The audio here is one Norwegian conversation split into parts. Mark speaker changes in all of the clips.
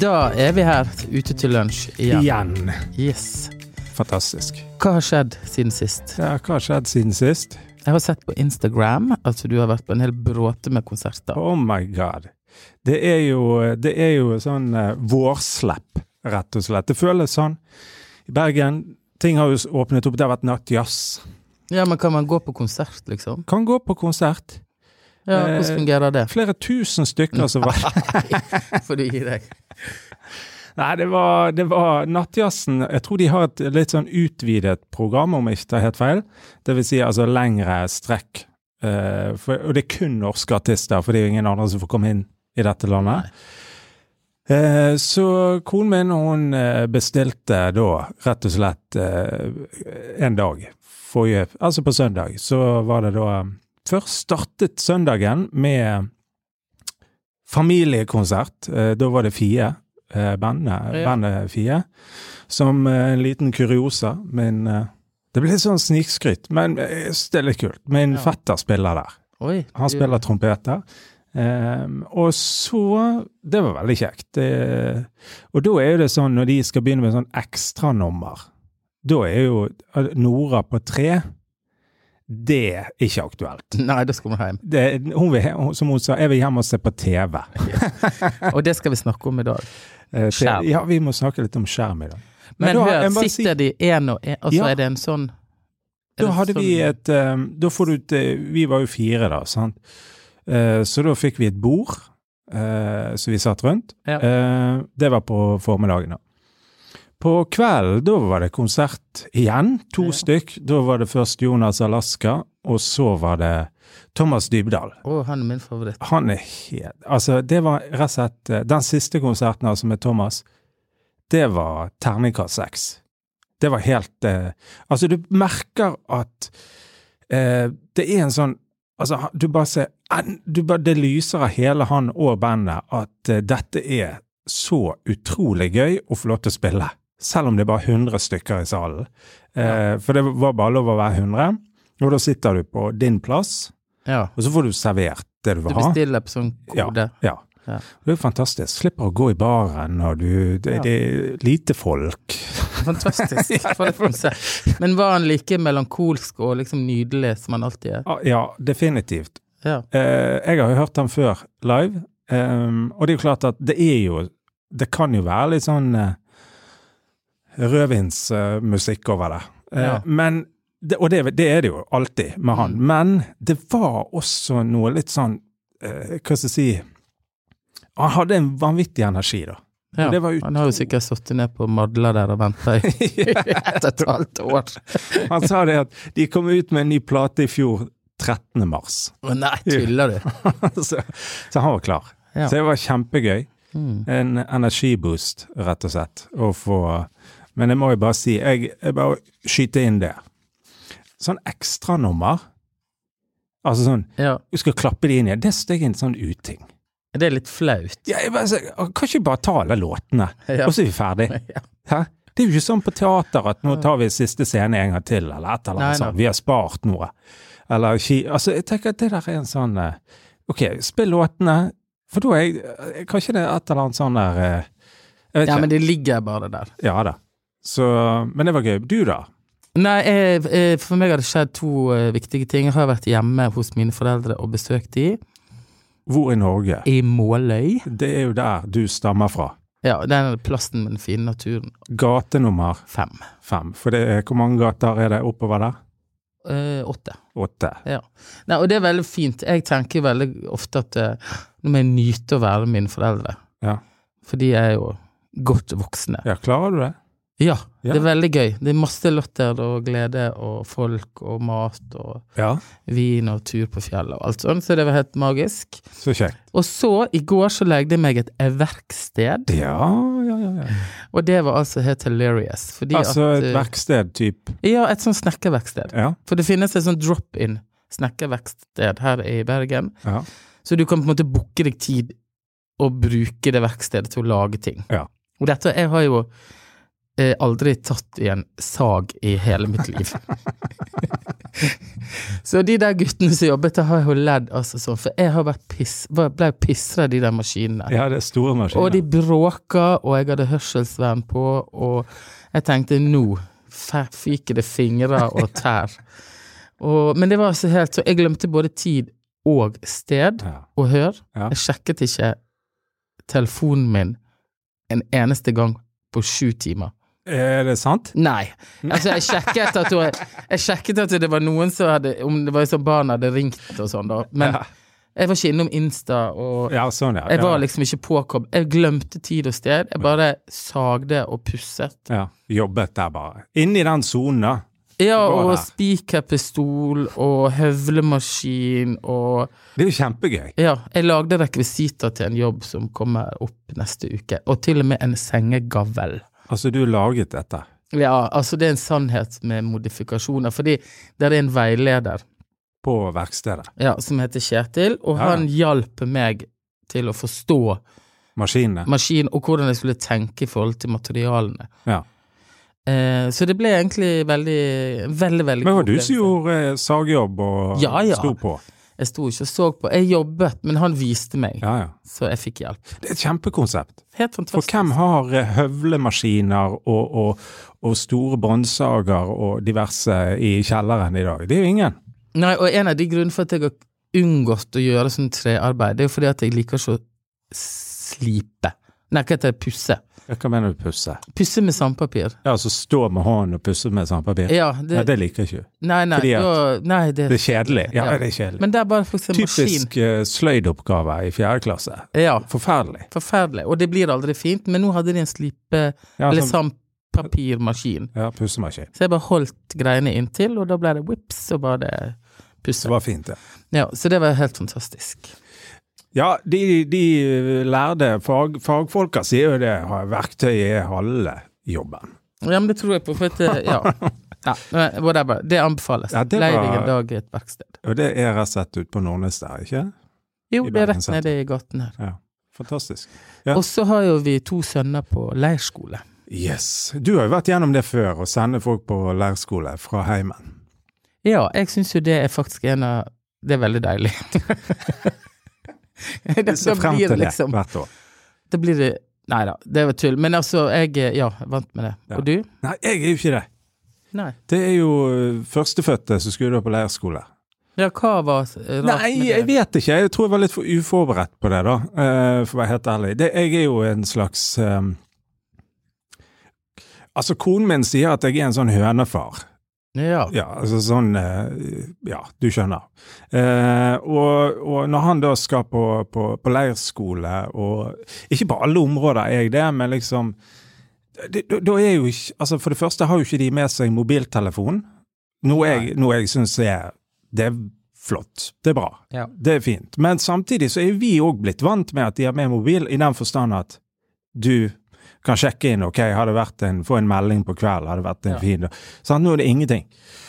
Speaker 1: Da er vi her ute til lunsj igjen.
Speaker 2: Igjen.
Speaker 1: Yes.
Speaker 2: Fantastisk.
Speaker 1: Hva har skjedd siden sist?
Speaker 2: Ja, hva har skjedd siden sist?
Speaker 1: Jeg har sett på Instagram at du har vært på en hel bråte med konserter.
Speaker 2: Oh my god. Det er jo, det er jo sånn eh, vårslepp, rett og slett. Det føles sånn. I Bergen, ting har jo s- åpnet opp. Det har vært nattjazz.
Speaker 1: Ja, men kan man gå på konsert, liksom?
Speaker 2: Kan gå på konsert.
Speaker 1: Ja, Hvordan
Speaker 2: Eh,
Speaker 1: fungerer det?
Speaker 2: Flere tusen stykker som var
Speaker 1: Får du gi deg?
Speaker 2: Nei, det var, det var Nattjazzen Jeg tror de har et litt sånn utvidet program, om jeg ikke tar helt feil. Det vil si altså lengre strekk. Eh, for, og det er kun norske artister, for det er jo ingen andre som får komme inn i dette landet. Eh, så konen min hun eh, bestilte da rett og slett eh, en dag forrige Altså på søndag. Så var det da Først startet søndagen med familiekonsert. Eh, da var det Fie eh,
Speaker 1: Ja.
Speaker 2: bandet, bandet Fie, som eh, en liten kuriosa. Men eh, det ble litt sånn snikskryt, men eh, jeg synes det er litt kult. Min
Speaker 1: Ja.
Speaker 2: fetter spiller der.
Speaker 1: Oi.
Speaker 2: Han
Speaker 1: du-
Speaker 2: spiller trompeter. Eh, og så Det var veldig kjekt. Det, og da er jo det sånn, når de skal begynne med sånn ekstranummer, da er jo eh, Nora på tre Det er ikke aktuelt.
Speaker 1: Nei, da skal man hjem.
Speaker 2: Det, hun vil, he- hun- som hun sa, jeg vil hjem og se på Eh, TV.
Speaker 1: Og det skal vi snakke om i dag.
Speaker 2: Eh,
Speaker 1: Skjerm.
Speaker 2: til- Ja, vi må snakke litt om skjerm i dag.
Speaker 1: Men,
Speaker 2: da-
Speaker 1: hør,
Speaker 2: jeg må bare si-
Speaker 1: sitter de én og én, og så
Speaker 2: Ja.
Speaker 1: er det en sånn er
Speaker 2: Da
Speaker 1: det
Speaker 2: hadde
Speaker 1: sånn-
Speaker 2: vi et eh, Da får du et eh, Vi var jo fire, da, sant. Eh, Så da fikk vi et bord eh, som vi satt rundt.
Speaker 1: Ja.
Speaker 2: Eh, Det var på formiddagen, da. På kvelden, da var det konsert igjen. To
Speaker 1: Ja.
Speaker 2: stykk. Da var det først Jonas Alaska, og så var det Thomas Dybdahl.
Speaker 1: Å, han er min favoritt.
Speaker 2: Han er helt Altså, det var rett og slett eh, Den siste konserten altså med Thomas, det var terningkast seks. Det var helt eh, Altså, du merker at eh, det er en sånn Altså, han- du bare ser en- du bare, Det lyser av hele han og bandet at eh, dette er så utrolig gøy å få lov til å spille. Selv om det er bare 100 stykker i salen. Eh, for det var bare lov å være 100. Og da sitter du på din plass,
Speaker 1: Ja.
Speaker 2: og så får du servert det du
Speaker 1: Du
Speaker 2: vil ha.
Speaker 1: bestiller på sånn kode.
Speaker 2: Ja.
Speaker 1: Ja.
Speaker 2: Det er jo fantastisk. Slipper å gå i baren når du Det,
Speaker 1: Ja.
Speaker 2: det er lite folk.
Speaker 1: Fantastisk. For et konsept. Men var han like melankolsk og liksom nydelig som han alltid er?
Speaker 2: Ah, Ja, definitivt.
Speaker 1: Ja.
Speaker 2: Eh, jeg har jo hørt han før live, ehm, og det er jo klart at det er jo Det kan jo være litt sånn eh, rødvinsmusikk over det. Eh,
Speaker 1: Ja.
Speaker 2: Men det, Og det, det er det jo alltid med han.
Speaker 1: Mm.
Speaker 2: Men det var også noe litt sånn eh, Hva skal jeg si Han hadde en vanvittig energi, da.
Speaker 1: ja.
Speaker 2: det var ut-
Speaker 1: Han har jo sikkert sittet ned på Madla der og venta i ett og et halvt år.
Speaker 2: Han sa det at de kom ut med en ny plate i fjor 13. mars.
Speaker 1: Å nei, tuller du?
Speaker 2: så, så han var klar.
Speaker 1: Ja.
Speaker 2: Så det var kjempegøy.
Speaker 1: Mm.
Speaker 2: En energiboost, rett og slett. Å få Men jeg må jo bare si, jeg, jeg bare skyter inn det. Sånn ekstranummer Altså sånn
Speaker 1: Ja.
Speaker 2: Du skal klappe det inn igjen. Det synes jeg er en sånn uting.
Speaker 1: Det er litt flaut.
Speaker 2: Ja, jeg bare, sier, kan ikke bare ta alle låtene,
Speaker 1: Ja.
Speaker 2: og så er vi ferdig?
Speaker 1: Ja.
Speaker 2: Hæ? Det er jo ikke sånn på teater at nå tar vi siste scene en gang til, eller et eller
Speaker 1: Nei, nei.
Speaker 2: annet sånt. Vi har spart noe. Eller ki- Altså, jeg tenker at det der er en sånn eh, Ok, spill låtene, for da er jeg eh, Kanskje det er et eller annet sånn der eh, Jeg
Speaker 1: ja,
Speaker 2: vet ikke.
Speaker 1: men det ligger bare der.
Speaker 2: Ja da. Så Men det var gøy. Du, da?
Speaker 1: Nei, jeg, jeg, for meg har det skjedd to eh, viktige ting. Jeg har vært hjemme hos mine foreldre og besøkt de
Speaker 2: Hvor i Norge?
Speaker 1: i Måløy.
Speaker 2: Det er jo der du stammer fra.
Speaker 1: Ja, den plassen med den fine naturen.
Speaker 2: Gate nummer
Speaker 1: Fem.
Speaker 2: fem. For det er, hvor mange gater er det oppover der?
Speaker 1: Eh, åtte.
Speaker 2: Åtte.
Speaker 1: Ja. Nei, og det er veldig fint. Jeg tenker veldig ofte at eh, nå må jeg nyte å være mine foreldre.
Speaker 2: Ja.
Speaker 1: For de er jo godt voksne.
Speaker 2: Ja, klarer du det?
Speaker 1: Ja,
Speaker 2: Ja.
Speaker 1: det er veldig gøy. Det er masse latter og glede og folk og mat og
Speaker 2: Ja.
Speaker 1: vin og tur på fjellet og alt sånt, så det var helt magisk.
Speaker 2: Så kjekt.
Speaker 1: Og så, i går så legde jeg meg et verksted,
Speaker 2: Ja, ja, ja. ja.
Speaker 1: og det var altså helt hilarious. Fordi
Speaker 2: Altså
Speaker 1: at,
Speaker 2: et
Speaker 1: eh,
Speaker 2: verksted type.
Speaker 1: Ja, et sånt snekkerverksted.
Speaker 2: Ja.
Speaker 1: For det finnes et sånt drop-in snekkerverksted her i Bergen,
Speaker 2: ja.
Speaker 1: så du kan på en måte booke deg tid og bruke det verkstedet til å lage ting.
Speaker 2: Ja.
Speaker 1: Og dette, jeg har jo eh, aldri tatt i en sag i hele mitt liv. Så de der guttene som jobbet der, har jeg jo ledd altså sånn, for jeg har vært piss, ble ble pissa av de der maskinene.
Speaker 2: Ja, det er store maskiner.
Speaker 1: Og de bråka, og jeg hadde hørselsvern på, og jeg tenkte nå fe- fyker det fingre og tær. Og, men det var altså helt så Jeg glemte både tid og sted
Speaker 2: ja.
Speaker 1: og hør.
Speaker 2: Ja.
Speaker 1: Jeg sjekket ikke telefonen min en eneste gang på sju timer.
Speaker 2: Er det sant?
Speaker 1: Nei. Altså, jeg sjekket at, hun, jeg sjekket at det var noen som hadde Om det var sånn barn hadde ringt og sånn, da. Men
Speaker 2: Ja.
Speaker 1: jeg var ikke innom Insta og
Speaker 2: Ja, sånn, ja.
Speaker 1: jeg
Speaker 2: ja.
Speaker 1: var liksom ikke påkomt. Jeg glemte tid og sted. Jeg bare sagde og pusset.
Speaker 2: ja. Jobbet der bare. Inni den sonen, da.
Speaker 1: Ja,
Speaker 2: Bra,
Speaker 1: og
Speaker 2: det.
Speaker 1: spikerpistol og høvlemaskin og
Speaker 2: Det er jo kjempegøy.
Speaker 1: Ja, jeg lagde rekvisitter til en jobb som kommer opp neste uke. Og til og med en sengegavl.
Speaker 2: Altså, du laget dette.
Speaker 1: Ja, altså det er en sannhet med modifikasjoner, fordi der er en veileder
Speaker 2: På verkstedet.
Speaker 1: ja, som heter Kjetil, og
Speaker 2: Ja.
Speaker 1: han hjalp meg til å forstå
Speaker 2: Maskinene.
Speaker 1: maskin og hvordan jeg skulle tenke i forhold til materialene.
Speaker 2: Ja.
Speaker 1: Eh, så det ble egentlig veldig, veldig, veldig
Speaker 2: Men det var
Speaker 1: god
Speaker 2: du
Speaker 1: opplevelse.
Speaker 2: som gjorde eh, sagjobb og
Speaker 1: Ja, ja.
Speaker 2: sto på?
Speaker 1: Jeg sto ikke og så på. Jeg jobbet, men han viste meg,
Speaker 2: Ja, ja.
Speaker 1: så jeg fikk hjelp.
Speaker 2: Det er et kjempekonsept.
Speaker 1: Helt
Speaker 2: For
Speaker 1: fantastisk.
Speaker 2: hvem har eh, høvlemaskiner og, og, og store båndsager og diverse i kjelleren i dag? Det er jo ingen.
Speaker 1: Nei, og en av de grunnene for at jeg har unngått å gjøre sånn trearbeid, det er jo fordi at jeg liker ikke å slipe. Nei, hva heter det, pusse.
Speaker 2: Hva mener du pusse?
Speaker 1: Pusse med sandpapir.
Speaker 2: Ja, altså stå med hånden og pusse med sandpapir?
Speaker 1: Ja,
Speaker 2: Det, ja,
Speaker 1: det,
Speaker 2: det liker ikke du.
Speaker 1: nei, nei,
Speaker 2: fordi at-
Speaker 1: da- nei, det,
Speaker 2: Det er kjedelig. Ja,
Speaker 1: Ja.
Speaker 2: det er kjedelig.
Speaker 1: Men der bare faktisk en maskin.
Speaker 2: Typisk eh, sløydoppgave i fjerde klasse.
Speaker 1: Ja,
Speaker 2: Forferdelig.
Speaker 1: forferdelig. Og det blir aldri fint, men nå hadde de en slipe,
Speaker 2: Ja,
Speaker 1: eller
Speaker 2: sånn,
Speaker 1: sandpapirmaskin.
Speaker 2: ja pussemaskin.
Speaker 1: Så jeg bare holdt greiene inntil, og da ble det whips, og bare det
Speaker 2: Det
Speaker 1: pusset.
Speaker 2: var fint, det.
Speaker 1: Ja, så det var helt fantastisk.
Speaker 2: Ja, de, de lærde fag, fagfolka sier jo det, ha- verktøyet er halve jobben.
Speaker 1: Ja, men det tror jeg på, for at eh, Ja. ja men whatever. Det anbefales.
Speaker 2: Ja, det
Speaker 1: Lei deg
Speaker 2: var-
Speaker 1: en dag i et verksted.
Speaker 2: Og det er rett og slett ute på Nordnes der, ikke?
Speaker 1: Jo,
Speaker 2: I
Speaker 1: det er
Speaker 2: Bergen
Speaker 1: rett
Speaker 2: sentrum.
Speaker 1: nede i gaten her.
Speaker 2: Fantastisk. Ja.
Speaker 1: Og så har jo vi to sønner på leirskole.
Speaker 2: Yes. Du har jo vært gjennom det før, å sende folk på leirskole fra heimen.
Speaker 1: Ja, jeg syns jo det er faktisk en av Det er veldig deilig.
Speaker 2: Du ser frem til det
Speaker 1: liksom.
Speaker 2: hvert år.
Speaker 1: Da blir det Nei da, det var tull. Men altså, jeg eh, Ja, jeg er vant med det.
Speaker 2: Ja.
Speaker 1: Og du?
Speaker 2: Nei, jeg er jo ikke det.
Speaker 1: Nei.
Speaker 2: Det er jo eh, førstefødte som skulle på leirskole.
Speaker 1: Ja, hva var eh, rart
Speaker 2: Nei,
Speaker 1: med det?
Speaker 2: jeg vet ikke. Jeg tror jeg var litt for uforberedt på det, da. eh, For å være helt ærlig. Det, jeg er jo en slags eh, Altså, konen min sier at jeg er en sånn hønefar.
Speaker 1: Ja.
Speaker 2: Ja, altså sånn eh, Ja, du skjønner. Eh, og, og når han da skal på, på, på leirskole, og ikke på alle områder er jeg det, men liksom det- da- Da er jo ikke Altså, for det første har jo ikke de med seg mobiltelefon, noe jeg, noe jeg syns er Det er flott. Det er bra.
Speaker 1: Ja.
Speaker 2: Det er fint. Men samtidig så er vi òg blitt vant med at de har med mobil, i den forstand at du kan sjekke inn ok, har det vært en, få en melding på kvelden, har det vært en
Speaker 1: Ja.
Speaker 2: fin dag. Sant? Nå er det ingenting.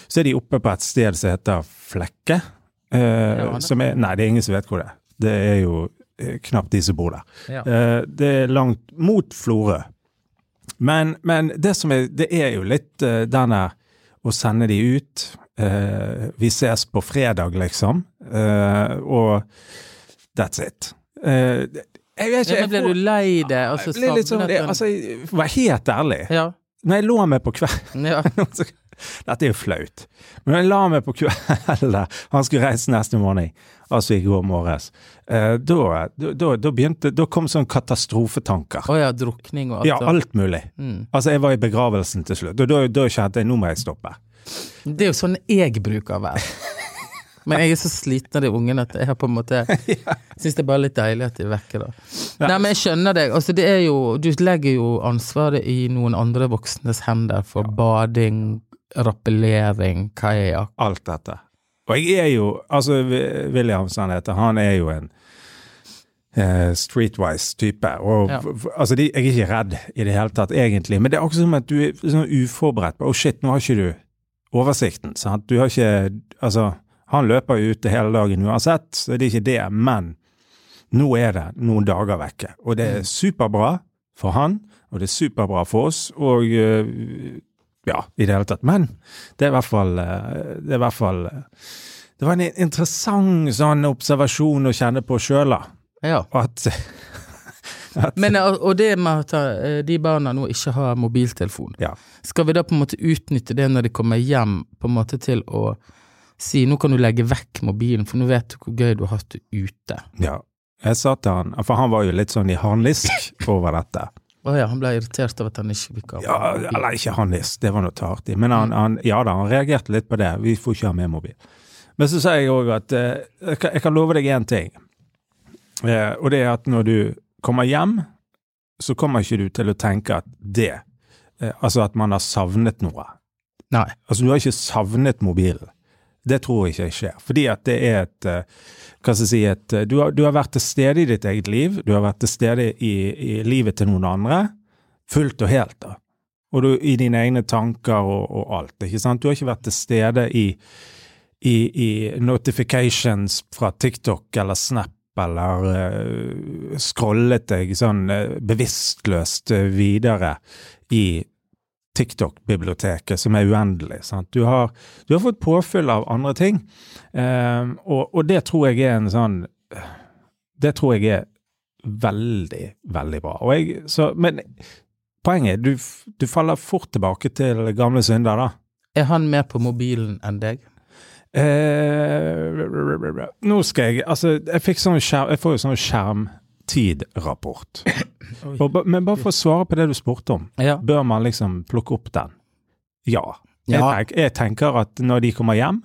Speaker 2: Så er de oppe på et sted som heter Flekke. eh,
Speaker 1: det-
Speaker 2: som er, nei, det er ingen som vet hvor det er. Det er jo eh, knapt de som bor der.
Speaker 1: ja.
Speaker 2: Eh, det er langt mot Florø. Men, men det som er, det er jo litt eh, den her å sende de ut. eh, vi ses på fredag, liksom. eh, og that's it. Eh, jeg vet ikke
Speaker 1: ja men ble du lei det? Altså,
Speaker 2: jeg ble litt sånn,
Speaker 1: savnet
Speaker 2: jeg,
Speaker 1: den-
Speaker 2: altså, jeg var helt ærlig.
Speaker 1: Ja.
Speaker 2: Når jeg lå meg på kvelden
Speaker 1: ja.
Speaker 2: så- Dette er jo flaut. Men jeg la meg på kvelden. Han skulle reise neste morgen, altså i går morges. Eh, Da, da, da- da begynte Da kom sånne katastrofetanker.
Speaker 1: Å ja, drukning og alt
Speaker 2: Ja,
Speaker 1: sånt.
Speaker 2: alt mulig.
Speaker 1: Mm.
Speaker 2: Altså, jeg var i begravelsen til slutt, og da, da kjente jeg nå må jeg stoppe.
Speaker 1: Det er jo sånn jeg bruker å være. Men jeg er så sliten av de ungene at jeg har på en måte syns det er bare litt deilig at de er vekke, da. Nei, men jeg skjønner deg. Altså, det er jo Du legger jo ansvaret i noen andre voksnes hender for bading, rappellering, kajakk
Speaker 2: Alt dette. Og jeg er jo Altså, Wi- Williamson heter han, er jo en eh, streetwise type. Og
Speaker 1: Ja.
Speaker 2: f- f- altså, de, jeg er ikke redd i det hele tatt, egentlig. Men det er akkurat som at du er sånn uforberedt på Å, shit, nå har ikke du oversikten. Sant? Du har ikke Altså, han løper jo ute hele dagen uansett, så det er ikke det. Men nå er det noen dager vekke. Og det er superbra for han, og det er superbra for oss. Og eh, ja, i det hele tatt. Men det er i hvert fall eh, Det, er i hvert fall, eh, det var en interessant sånn observasjon å kjenne på sjøl, da.
Speaker 1: Ja.
Speaker 2: At
Speaker 1: Men, eh, og det med at eh, de barna nå ikke har mobiltelefon,
Speaker 2: Ja.
Speaker 1: skal vi da på en måte utnytte det når de kommer hjem, på en måte til å si nå kan du legge vekk mobilen, for nå vet du hvor gøy du har hatt det ute.
Speaker 2: ja. Jeg sa til han For han var jo litt sånn i harnisk over dette.
Speaker 1: Å ja, han ble irritert av at han ikke fikk ha
Speaker 2: Ja,
Speaker 1: mobil.
Speaker 2: eller ikke harnisk, det var noe å ta hardt i. Men han, han, ja da, han reagerte litt på det. Vi får ikke ha med mobil. Men så sa jeg òg at eh, jeg kan- jeg kan love deg én ting. Eh, og det er at når du kommer hjem, så kommer ikke du til å tenke at det eh, Altså at man har savnet noe.
Speaker 1: Nei.
Speaker 2: Altså, du har ikke savnet mobilen. Det tror jeg ikke skjer. Fordi at det er et eh, Hva skal jeg si et, eh, du, har, du har vært til stede i ditt eget liv. Du har vært til stede i, i livet til noen andre. Fullt og helt, da. Og du, i dine egne tanker og, og alt. ikke sant? Du har ikke vært til stede i, i, i notifications fra TikTok eller Snap. Eller eh, scrollet deg sånn eh, bevisstløst eh, videre i TikTok-biblioteket, som er uendelig. Sant? Du, har, du har fått påfyll av andre ting, Ehm, og, og det tror jeg er en sånn Det tror jeg er veldig, veldig bra. Og jeg, så, men poenget er du, f- du faller fort tilbake til gamle synder, da.
Speaker 1: Er han mer på mobilen enn deg?
Speaker 2: Eh, nå skal jeg Altså, jeg, fikk sånn skjerm, jeg får jo sånn skjermtidrapport. Og, ba- men bare for å svare på det du spurte om.
Speaker 1: Ja.
Speaker 2: Bør man liksom plukke opp den? Ja. Jeg,
Speaker 1: Ja.
Speaker 2: tenk, jeg tenker at når de kommer hjem,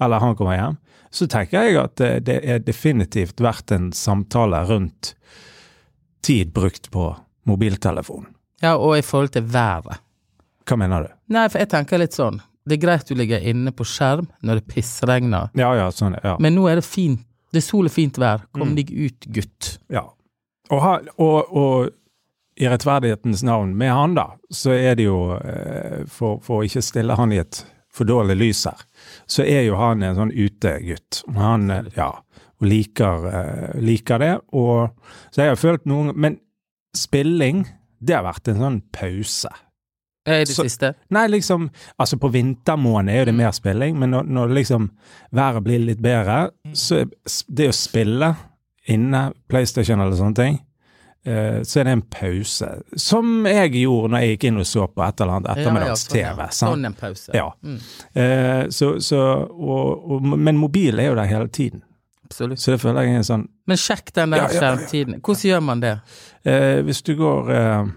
Speaker 2: eller han kommer hjem, så tenker jeg at det, det er definitivt verdt en samtale rundt tid brukt på mobiltelefon.
Speaker 1: ja, og i forhold til været.
Speaker 2: Hva mener du?
Speaker 1: Nei, for jeg tenker litt sånn. Det er greit du ligger inne på skjerm når det pissregner,
Speaker 2: Ja, ja, sånn, ja.
Speaker 1: men nå er det fint. Det er sol og fint vær. Kom
Speaker 2: Mm.
Speaker 1: deg ut, gutt.
Speaker 2: ja. Og, ha, og, og i rettferdighetens navn, med han da, så er det jo, eh, for, for å ikke stille han i et for dårlig lys her, så er jo han en sånn utegutt. Han, eh, ja, og liker, eh, liker det. Og, så jeg har følt noen Men spilling, det har vært en sånn pause.
Speaker 1: Er det
Speaker 2: Så-
Speaker 1: siste?
Speaker 2: Nei, liksom Altså, på vintermåned
Speaker 1: Mm.
Speaker 2: er jo det mer spilling, men når, når liksom været blir litt bedre,
Speaker 1: Mm.
Speaker 2: så er s- det å spille inne, PlayStation eller sånne ting, eh, så er det en pause. Som jeg gjorde når jeg gikk inn og så på et eller annet ettermiddags-TV.
Speaker 1: Ja, ja, sånn, ja.
Speaker 2: sant?
Speaker 1: Sånn en pause.
Speaker 2: Ja.
Speaker 1: Mm.
Speaker 2: Eh, så, så, og, og, men mobil er jo der hele tiden,
Speaker 1: Absolutt.
Speaker 2: så det føler jeg er en sånn
Speaker 1: Men sjekk den der
Speaker 2: Ja, ja, ja.
Speaker 1: skjermtiden. Hvordan gjør man det?
Speaker 2: Eh, hvis du går eh,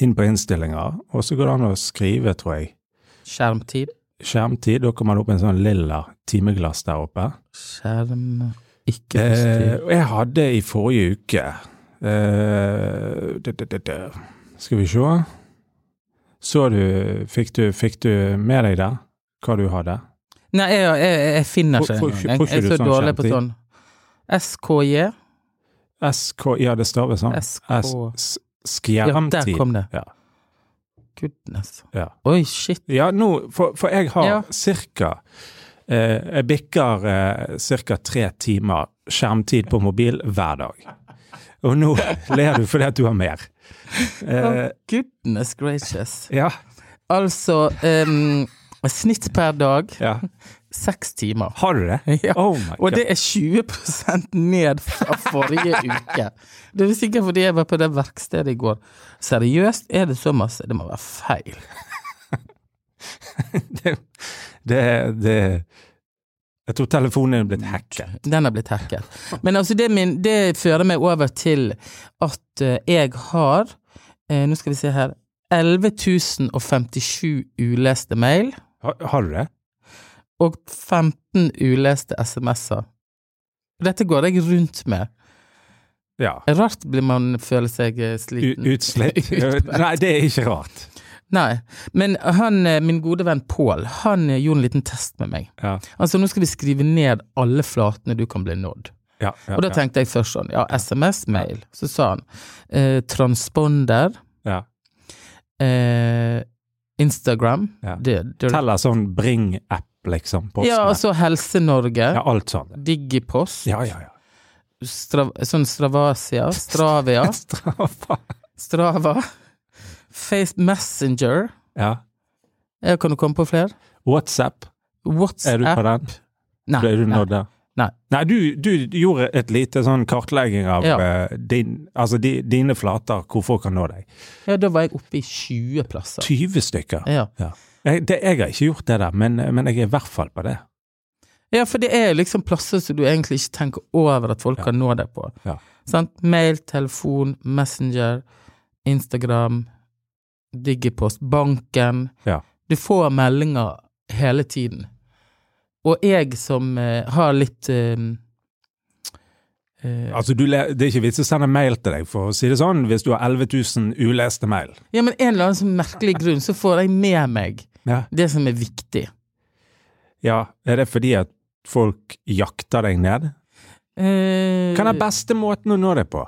Speaker 2: inn på innstillinger, og så går det an å skrive, tror jeg,
Speaker 1: Skjermtid?
Speaker 2: skjermtid, da kommer det opp en sånn lilla timeglass der oppe.
Speaker 1: Skjerm Ikke
Speaker 2: Eh,
Speaker 1: positiv.
Speaker 2: og jeg hadde i forrige uke eh, det, det, det, det. Skal vi se. Så du fikk, du fikk du med deg der hva du hadde?
Speaker 1: Nei, jeg, jeg, jeg finner ikke
Speaker 2: Får- får
Speaker 1: den
Speaker 2: ikke-
Speaker 1: engang.
Speaker 2: får ikke
Speaker 1: Jeg
Speaker 2: du
Speaker 1: er så
Speaker 2: sånn
Speaker 1: dårlig på
Speaker 2: skjermtid?
Speaker 1: sånn. SKJ.
Speaker 2: SK Ja, det staves sånn.
Speaker 1: SK.
Speaker 2: S-
Speaker 1: Ja, der
Speaker 2: Skjermtid.
Speaker 1: kom det.
Speaker 2: Ja.
Speaker 1: Goodness.
Speaker 2: Ja.
Speaker 1: Oi, shit.
Speaker 2: Ja, nå, for, for jeg har
Speaker 1: Ja.
Speaker 2: cirka eh, Jeg bikker eh, cirka tre timer skjermtid på mobil hver dag. Og nå ler du fordi at du har mer. Eh,
Speaker 1: Goodness gracious.
Speaker 2: ja,
Speaker 1: Altså em, Snitt per dag
Speaker 2: ja.
Speaker 1: seks timer.
Speaker 2: Har du det?
Speaker 1: Ja.
Speaker 2: Oh my
Speaker 1: Og
Speaker 2: god.
Speaker 1: det er 20 ned fra forrige uke. Det er sikkert fordi jeg var på det verkstedet i går. Seriøst, er det så masse? Det må være feil.
Speaker 2: Det, det, det Jeg tror telefonen er blitt hacket.
Speaker 1: Den er blitt hacket. Men altså, det, min, det fører meg over til at eh, jeg har eh, Nå skal vi se her 11.057 uleste mail
Speaker 2: Har, har du det?
Speaker 1: og 15 uleste SMS-er. Dette går jeg rundt med.
Speaker 2: Ja.
Speaker 1: Rart blir man føler seg eh,
Speaker 2: U
Speaker 1: sliten.
Speaker 2: utslitt? Nei, det er ikke rart.
Speaker 1: Nei, men han, eh, min gode venn Pål, han eh, gjorde en liten test med meg.
Speaker 2: Ja,
Speaker 1: Altså, nå skal vi skrive ned alle flatene du kan bli nådd.
Speaker 2: ja, ja,
Speaker 1: Og da
Speaker 2: ja.
Speaker 1: tenkte jeg først sånn, ja, SMS, mail. Så sa han eh, transponder,
Speaker 2: ja.
Speaker 1: eh, Instagram,
Speaker 2: Ja.
Speaker 1: det, det,
Speaker 2: Teller sånn Bring-app, liksom. Postene.
Speaker 1: ja, altså Helse-Norge,
Speaker 2: ja, alt sånn.
Speaker 1: Digipost,
Speaker 2: Ja, ja, ja.
Speaker 1: Stra, sånn Stravasia, Stravia,
Speaker 2: Straffa.
Speaker 1: Strava, Face Messenger,
Speaker 2: Ja.
Speaker 1: Eh, Kan du komme på flere?
Speaker 2: WhatsApp, er du på
Speaker 1: WhatsApp?
Speaker 2: den?
Speaker 1: Nei,
Speaker 2: Ble du
Speaker 1: nei.
Speaker 2: nådd der?
Speaker 1: Nei.
Speaker 2: Nei, du, du gjorde et lite sånn kartlegging av
Speaker 1: Ja.
Speaker 2: eh, din, altså di, dine flater, hvor folk kan nå deg.
Speaker 1: Ja, da var jeg oppe i 20 plasser.
Speaker 2: 20 stykker.
Speaker 1: Ja.
Speaker 2: Jeg, det, jeg har ikke gjort det der, men, men jeg er i hvert fall på det.
Speaker 1: ja, for det er liksom plasser som du egentlig ikke tenker over at folk kan nå deg på.
Speaker 2: Ja.
Speaker 1: Sant? Mail, telefon, Messenger, Instagram, Digipost, banken.
Speaker 2: Ja.
Speaker 1: Du får meldinger hele tiden. Og jeg som eh, har litt eh, eh,
Speaker 2: Altså, du, le- det er ikke vits å sende mail til deg, for å si det sånn, hvis du har 11 000 uleste mail.
Speaker 1: Ja, men en eller annen sånn merkelig grunn så får jeg med meg
Speaker 2: Ja.
Speaker 1: det som er viktig.
Speaker 2: ja. Er det fordi at folk jakter deg ned?
Speaker 1: Eh,
Speaker 2: Hva er den beste måten å nå deg på?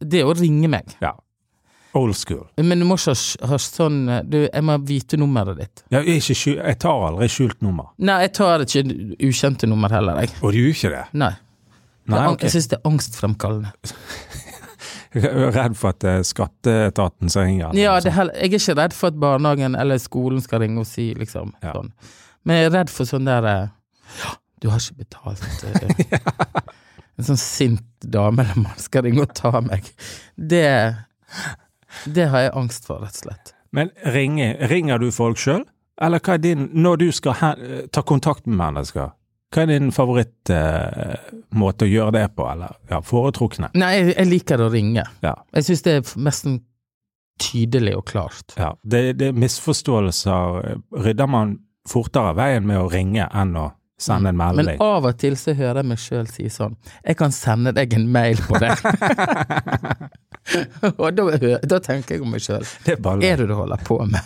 Speaker 1: det er å ringe meg.
Speaker 2: Ja. Old school.
Speaker 1: Men du må ikke ha s- ha sånn eh, du, Jeg må vite nummeret ditt.
Speaker 2: Jeg, er ikke skjul, jeg tar aldri skjult nummer.
Speaker 1: Nei, jeg tar ikke u- ukjente nummer heller, jeg.
Speaker 2: Og du gjør ikke det?
Speaker 1: Nei.
Speaker 2: Nei,
Speaker 1: Jeg an-
Speaker 2: ok.
Speaker 1: Jeg syns det er angstfremkallende.
Speaker 2: Jeg er redd for at det er skatteetaten som ringer. Altså. eller
Speaker 1: Ja,
Speaker 2: noe
Speaker 1: det,
Speaker 2: sånt.
Speaker 1: er heller- jeg er ikke redd for at barnehagen eller skolen skal ringe og si liksom
Speaker 2: Ja.
Speaker 1: sånn. Men jeg er redd for sånn der eh, «Ja, Du har ikke betalt eh, En sånn sint dame eller mann skal ringe og ta meg. Det Det har jeg angst for, rett og slett.
Speaker 2: Men ringer, ringer du folk sjøl? Eller hva er din Når du skal he- ta kontakt med mennesker, hva er din favorittmåte eh, måte å gjøre det på? Eller ja, foretrukne?
Speaker 1: Nei, jeg, jeg liker å ringe.
Speaker 2: Ja.
Speaker 1: Jeg syns det er f- mest sånn tydelig og klart.
Speaker 2: ja. Det, det er misforståelser. Rydder man fortere veien med å ringe enn å sende en
Speaker 1: Men
Speaker 2: melding?
Speaker 1: av og til så hører jeg meg sjøl si sånn Jeg kan sende deg en mail på det. og da, hø- da tenker jeg om meg sjøl.
Speaker 2: det er bare
Speaker 1: er det du holder på med?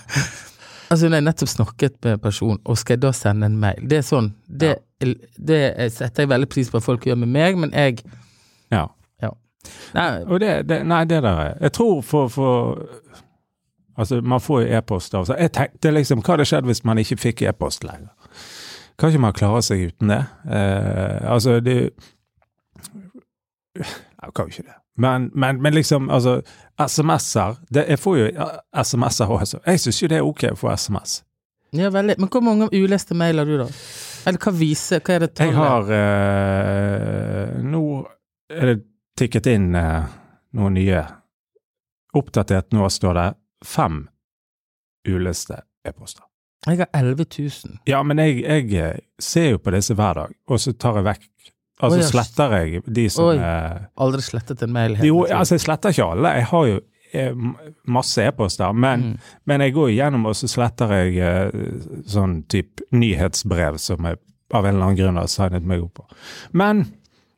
Speaker 1: Altså, når jeg nettopp snakket med en person, og skal jeg da sende en mail? Det er sånn, det, det setter jeg veldig pris på at folk gjør med meg, men jeg
Speaker 2: Ja.
Speaker 1: ja. Nei,
Speaker 2: Og det, det Nei, det der er Jeg tror for, for Altså, man får jo e-post av seg. Jeg tenkte liksom, hva hadde skjedd hvis man ikke fikk e-post lenger? Kan ikke man klare seg uten det? Eh, altså, det Jeg kan jo ikke det. Men, men, men liksom, altså, SMS-er det- Jeg får jo ja, SMS-er også. Jeg syns jo det er ok å få SMS.
Speaker 1: ja, veldig. Men hvor mange uleste mail har du, da? Eller hva viser Hva er det
Speaker 2: Jeg
Speaker 1: tallet?
Speaker 2: har eh, Nå er det tikket inn eh, noen nye. Oppdatert nå står det fem uleste e-poster.
Speaker 1: Jeg har 11 000.
Speaker 2: Ja, men jeg, jeg eh, ser jo på disse hver dag, og så tar jeg vekk Altså
Speaker 1: Oi, ja.
Speaker 2: sletter jeg de som
Speaker 1: Oi.
Speaker 2: eh,
Speaker 1: Aldri slettet en mail. hele
Speaker 2: Jo,
Speaker 1: tiden.
Speaker 2: altså jeg sletter ikke alle. Jeg har jo eh, m- masse e-poster, men,
Speaker 1: Mm.
Speaker 2: men jeg går igjennom og så sletter jeg eh, sånn type nyhetsbrev som jeg av en eller annen grunn har signet meg opp på. Men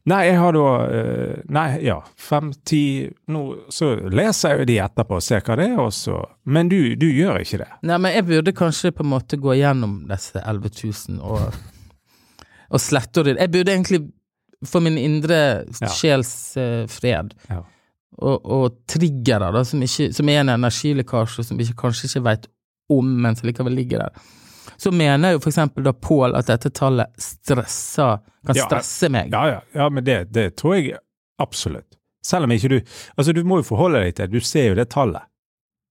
Speaker 2: nei, jeg har da eh, Nei, ja, fem-ti Nå så leser jeg jo de etterpå og ser hva det er, og så Men du, du gjør ikke det.
Speaker 1: Nei, men jeg burde kanskje på en måte gå gjennom disse 11 000 og, og slette og rydde. Jeg burde egentlig for min indre
Speaker 2: Ja.
Speaker 1: sjels eh, fred
Speaker 2: Ja.
Speaker 1: og, og triggere, da, som, ikke, som er en energilekkasje som vi ikke, kanskje ikke veit om, men som likevel ligger der. Så mener jo for eksempel da Pål at dette tallet stresser, kan
Speaker 2: Ja,
Speaker 1: stresse meg.
Speaker 2: Ja, ja, ja men det, det tror jeg absolutt. Selv om ikke du Altså, du må jo forholde deg til Du ser jo det tallet.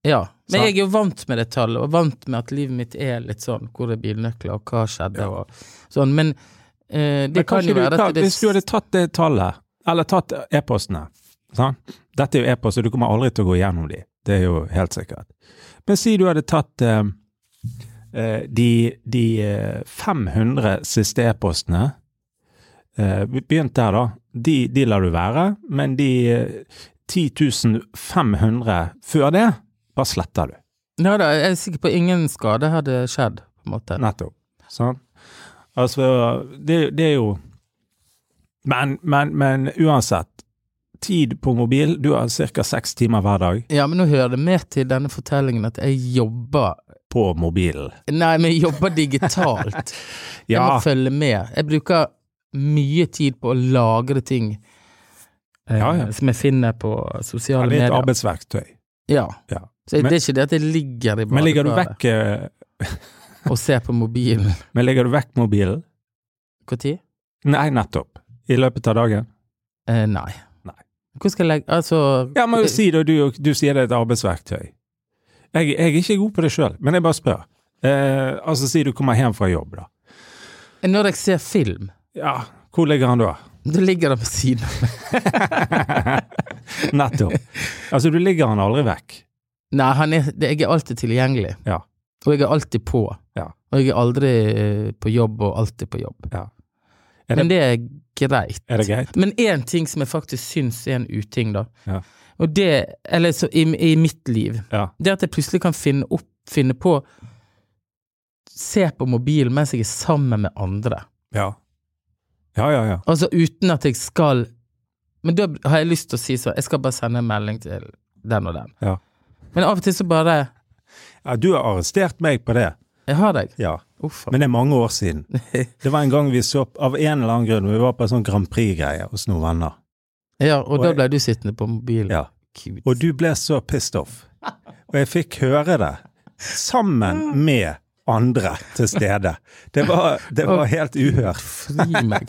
Speaker 1: Ja. Men
Speaker 2: Sant.
Speaker 1: jeg er jo vant med det tallet, og vant med at livet mitt er litt sånn hvor er bilnøkler, og hva skjedde, og sånn. Men eh, det
Speaker 2: Men
Speaker 1: kan
Speaker 2: kanskje
Speaker 1: jo
Speaker 2: du
Speaker 1: være
Speaker 2: tar-
Speaker 1: at det
Speaker 2: Hvis du hadde tatt det tallet, eller tatt e-postene sant? Dette er jo e-post, og du kommer aldri til å gå gjennom de. Det er jo helt sikkert. Men si du hadde tatt eh, eh, de, de eh, 500 siste e-postene eh, vi Begynt der, da. De, de lar du være, men de eh, 10 500 før det, bare sletter du.
Speaker 1: Ja da, jeg er sikker på ingen skade hadde skjedd, på en måte.
Speaker 2: Nettopp. Sant? Altså, det, det er jo men, men, men uansett. Tid på mobil. Du har ca. seks timer hver dag
Speaker 1: Ja, men nå hører det med til denne fortellingen at jeg jobber
Speaker 2: på mobilen.
Speaker 1: Nei, men jeg jobber digitalt. Jeg må
Speaker 2: Ja,
Speaker 1: følge med. Jeg bruker mye tid på å lagre ting eh,
Speaker 2: Ja, ja.
Speaker 1: som jeg finner på
Speaker 2: det
Speaker 1: sosiale
Speaker 2: er et
Speaker 1: medier.
Speaker 2: arbeidsverktøy.
Speaker 1: Ja.
Speaker 2: Ja.
Speaker 1: Så det
Speaker 2: Men-
Speaker 1: er ikke det at jeg ligger i
Speaker 2: Men legger du
Speaker 1: badekaret
Speaker 2: vekk, eh,
Speaker 1: og ser på mobilen.
Speaker 2: men legger du vekk mobilen?
Speaker 1: Når?
Speaker 2: Nei, nettopp. I løpet av dagen?
Speaker 1: Eh, nei.
Speaker 2: Nei.
Speaker 1: Hvor skal jeg legge Altså
Speaker 2: Ja, men si da, du, du sier det er et arbeidsverktøy. Jeg, jeg er ikke god på det sjøl, men jeg bare spør. Eh, altså, si du kommer hjem fra jobb, da.
Speaker 1: Når jeg ser film,
Speaker 2: Ja, hvor ligger han da?
Speaker 1: da ligger det ved siden av meg.
Speaker 2: Nettopp. Altså, du ligger han aldri vekk.
Speaker 1: Nei, han er, det- jeg er alltid tilgjengelig.
Speaker 2: Ja.
Speaker 1: Og jeg er alltid på.
Speaker 2: Ja.
Speaker 1: Og jeg er aldri eh, på jobb, og alltid på jobb.
Speaker 2: Ja. Er det-
Speaker 1: Men det er greit.
Speaker 2: Er det greit?
Speaker 1: Men én ting som jeg faktisk syns er en uting, da.
Speaker 2: Ja.
Speaker 1: Og det, eller så i, i mitt liv,
Speaker 2: Ja.
Speaker 1: det at jeg plutselig kan finne opp, finne på Se på mobilen mens jeg er sammen med andre.
Speaker 2: Ja, ja, ja. ja.
Speaker 1: Altså uten at jeg skal Men da har jeg lyst til å si så Jeg skal bare sende en melding til den og den.
Speaker 2: Ja.
Speaker 1: Men av og til så bare
Speaker 2: ja du har arrestert meg på det.
Speaker 1: Jeg har deg.
Speaker 2: Ja.
Speaker 1: Uff.
Speaker 2: Men det er mange år siden. Det var en gang vi så av en eller annen grunn, vi var på en sånn Grand Prix-greie hos noen venner.
Speaker 1: Ja, og da
Speaker 2: Og jeg-
Speaker 1: ble du sittende på mobilen.
Speaker 2: Ja.
Speaker 1: Gud.
Speaker 2: Og du ble så pissed off. Og jeg fikk høre det sammen med andre til stede. Det var, det var helt uhørt.
Speaker 1: Fri meg.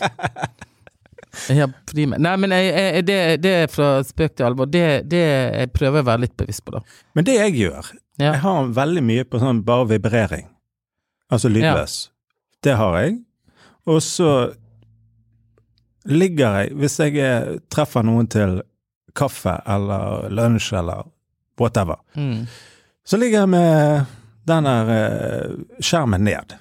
Speaker 1: Ja, fri meg. Nei, men jeg, jeg, det, det er fra spøk til alvor. Det, det jeg prøver jeg å være litt bevisst på, da.
Speaker 2: Men det jeg gjør,
Speaker 1: Ja.
Speaker 2: jeg har veldig mye på sånn bare vibrering. Altså lydløs. Det har jeg. Og så ligger jeg, hvis jeg er- treffer noen til kaffe eller lunsj eller whatever,
Speaker 1: Mm.
Speaker 2: så ligger jeg med den der eh, skjermen ned.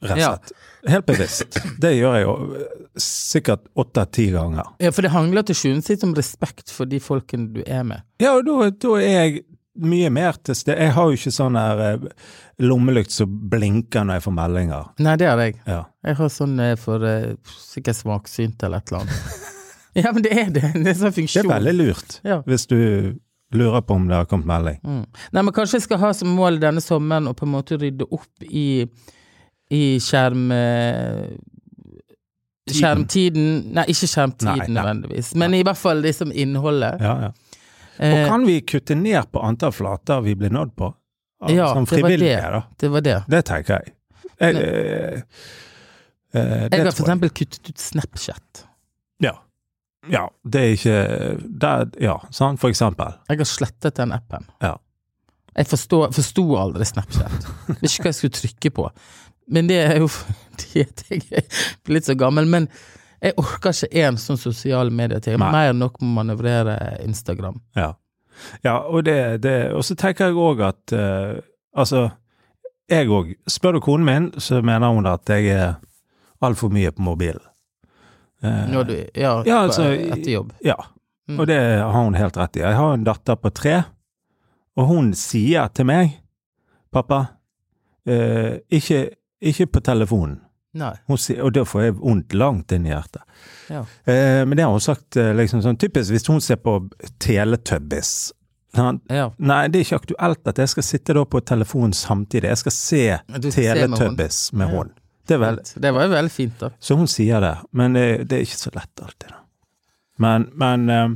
Speaker 2: Rett og
Speaker 1: Ja.
Speaker 2: slett. Helt bevisst. Det gjør jeg jo eh, sikkert åtte-ti ganger.
Speaker 1: ja, for det handler til sjuende og sist om respekt for de folkene du er med.
Speaker 2: Ja, og da, da er jeg mye mer til stede. Jeg har jo ikke sånn her eh, lommelykt som blinker når jeg får meldinger.
Speaker 1: Nei, det har jeg.
Speaker 2: Ja.
Speaker 1: Jeg har sånn eh, for eh, sikkert smaksynt eller et eller annet. ja, men det er det. Det er en sånn
Speaker 2: Det
Speaker 1: funksjon.
Speaker 2: er veldig lurt,
Speaker 1: Ja.
Speaker 2: hvis du lurer på om det har kommet melding.
Speaker 1: Mm. Nei, men kanskje jeg skal ha som mål denne sommeren å på en måte rydde opp i, i skjerm... eh, Skjermtiden Nei, ikke skjermtiden
Speaker 2: Nei, nei.
Speaker 1: nødvendigvis, men i hvert fall liksom innholdet.
Speaker 2: Ja, ja. Og
Speaker 1: Eh,
Speaker 2: kan vi kutte ned på antall flater vi blir nådd på? Av
Speaker 1: Ja,
Speaker 2: sånn
Speaker 1: det var det.
Speaker 2: frivillige, da.
Speaker 1: det var det.
Speaker 2: Det tenker jeg. jeg eh, eh, det
Speaker 1: Jeg har for
Speaker 2: tror jeg.
Speaker 1: eksempel kuttet ut Snapchat.
Speaker 2: Ja. ja. Det er ikke der, Ja, sånn for eksempel.
Speaker 1: Jeg har slettet den appen.
Speaker 2: Ja.
Speaker 1: Jeg forstår- forsto aldri Snapchat. Vet ikke hva jeg skulle trykke på. Men det er jo fordi at jeg er blitt så gammel. Men jeg orker ikke én sånn sosial medie til. Jeg
Speaker 2: Nei.
Speaker 1: har mer enn nok med å manøvrere Instagram.
Speaker 2: Ja, ja og, det, det, og så tenker jeg òg at eh, Altså, jeg òg. Spør du konen min, så mener hun at jeg er altfor mye på mobilen. Eh,
Speaker 1: Når du, ja,
Speaker 2: Ja, altså,
Speaker 1: på- etter jobb.
Speaker 2: ja,
Speaker 1: Mm.
Speaker 2: og det har hun helt rett i. Jeg har en datter på tre, og hun sier til meg, pappa, eh, ikke, ikke på telefonen.
Speaker 1: Nei.
Speaker 2: Hun sier, og da får jeg vondt langt inn i hjertet.
Speaker 1: Ja.
Speaker 2: Eh, men det har hun sagt eh, liksom sånn typisk hvis hun ser på Teletubbies. sant?
Speaker 1: ja.
Speaker 2: Nei, det er ikke aktuelt at jeg skal sitte da på telefonen samtidig. Jeg skal se
Speaker 1: Du skal se med hun.
Speaker 2: Teletubbies med
Speaker 1: Ja.
Speaker 2: hun. Det er vel,
Speaker 1: Det var jo veldig fint, da.
Speaker 2: så hun sier det, men eh, det, det er ikke så lett alltid. Da. Men, men eh,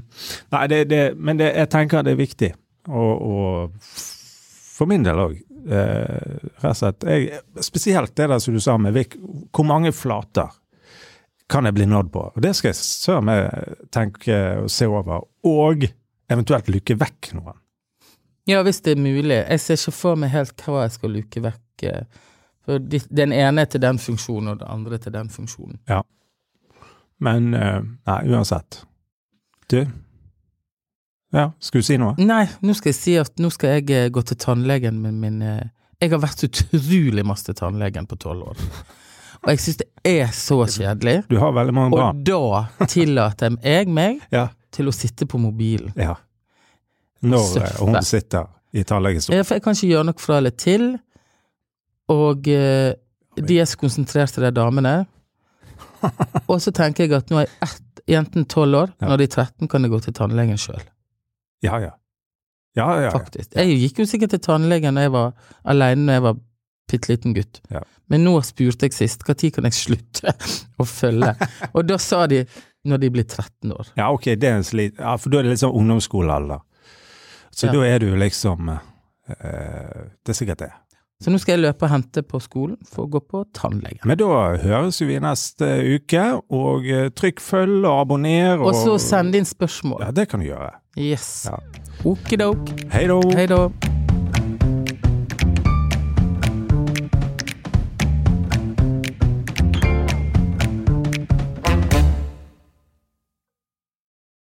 Speaker 2: Nei, det, det, men det, jeg tenker det er viktig. Og, og for min del òg. Rett og slett. Jeg, spesielt det der som du sa med Vik, hvor mange flater kan jeg bli nådd på? Og det skal jeg søren meg tenke og se over. Og eventuelt luke vekk noen.
Speaker 1: Ja, hvis det er mulig. Jeg ser ikke for meg helt hva jeg skal luke vekk. eh, For de- den ene er til den funksjonen, og den andre er til den funksjonen.
Speaker 2: Men eh, nei, uansett. Du? Ja, skulle du si noe?
Speaker 1: Nei, nå skal jeg si at nå skal jeg eh, gå til tannlegen med min eh, Jeg har vært utrolig masse til tannlegen på tolv år. Og jeg syns det er så kjedelig.
Speaker 2: Du har veldig mange
Speaker 1: Og
Speaker 2: bra.
Speaker 1: da tillater jeg meg
Speaker 2: Ja.
Speaker 1: til å sitte på mobilen.
Speaker 2: Ja. Når eh,
Speaker 1: Surfe.
Speaker 2: hun sitter i tannlegestolen.
Speaker 1: Ja, For jeg kan ikke gjøre noe fra eller til. Og eh, de er så konsentrerte, de damene. Og så tenker jeg at nå er jeg ett, jenten tolv år,
Speaker 2: Ja.
Speaker 1: når de er 13 kan jeg gå til tannlegen sjøl.
Speaker 2: Ja, ja. Ja, ja, ja.
Speaker 1: faktisk. Jeg gikk jo sikkert til tannlegen da jeg var alene da jeg var bitte liten gutt.
Speaker 2: Ja.
Speaker 1: Men nå spurte jeg sist når kan jeg slutte å følge. Og da sa de når de blir 13 år.
Speaker 2: ja ok, det er en slit... Ja, for da er det liksom ungdomsskolealder. Så
Speaker 1: Ja.
Speaker 2: da er du liksom eh, Det er sikkert det.
Speaker 1: Så nå skal jeg løpe og hente på skolen for å gå på tannlegen.
Speaker 2: Men da høres jo vi neste uke, og eh, trykk følg og abonner.
Speaker 1: Og så sende inn spørsmål.
Speaker 2: Ja, det kan du gjøre.
Speaker 1: Yes.
Speaker 2: Ja.
Speaker 1: Okidok.
Speaker 2: Hei da.
Speaker 1: Hei da.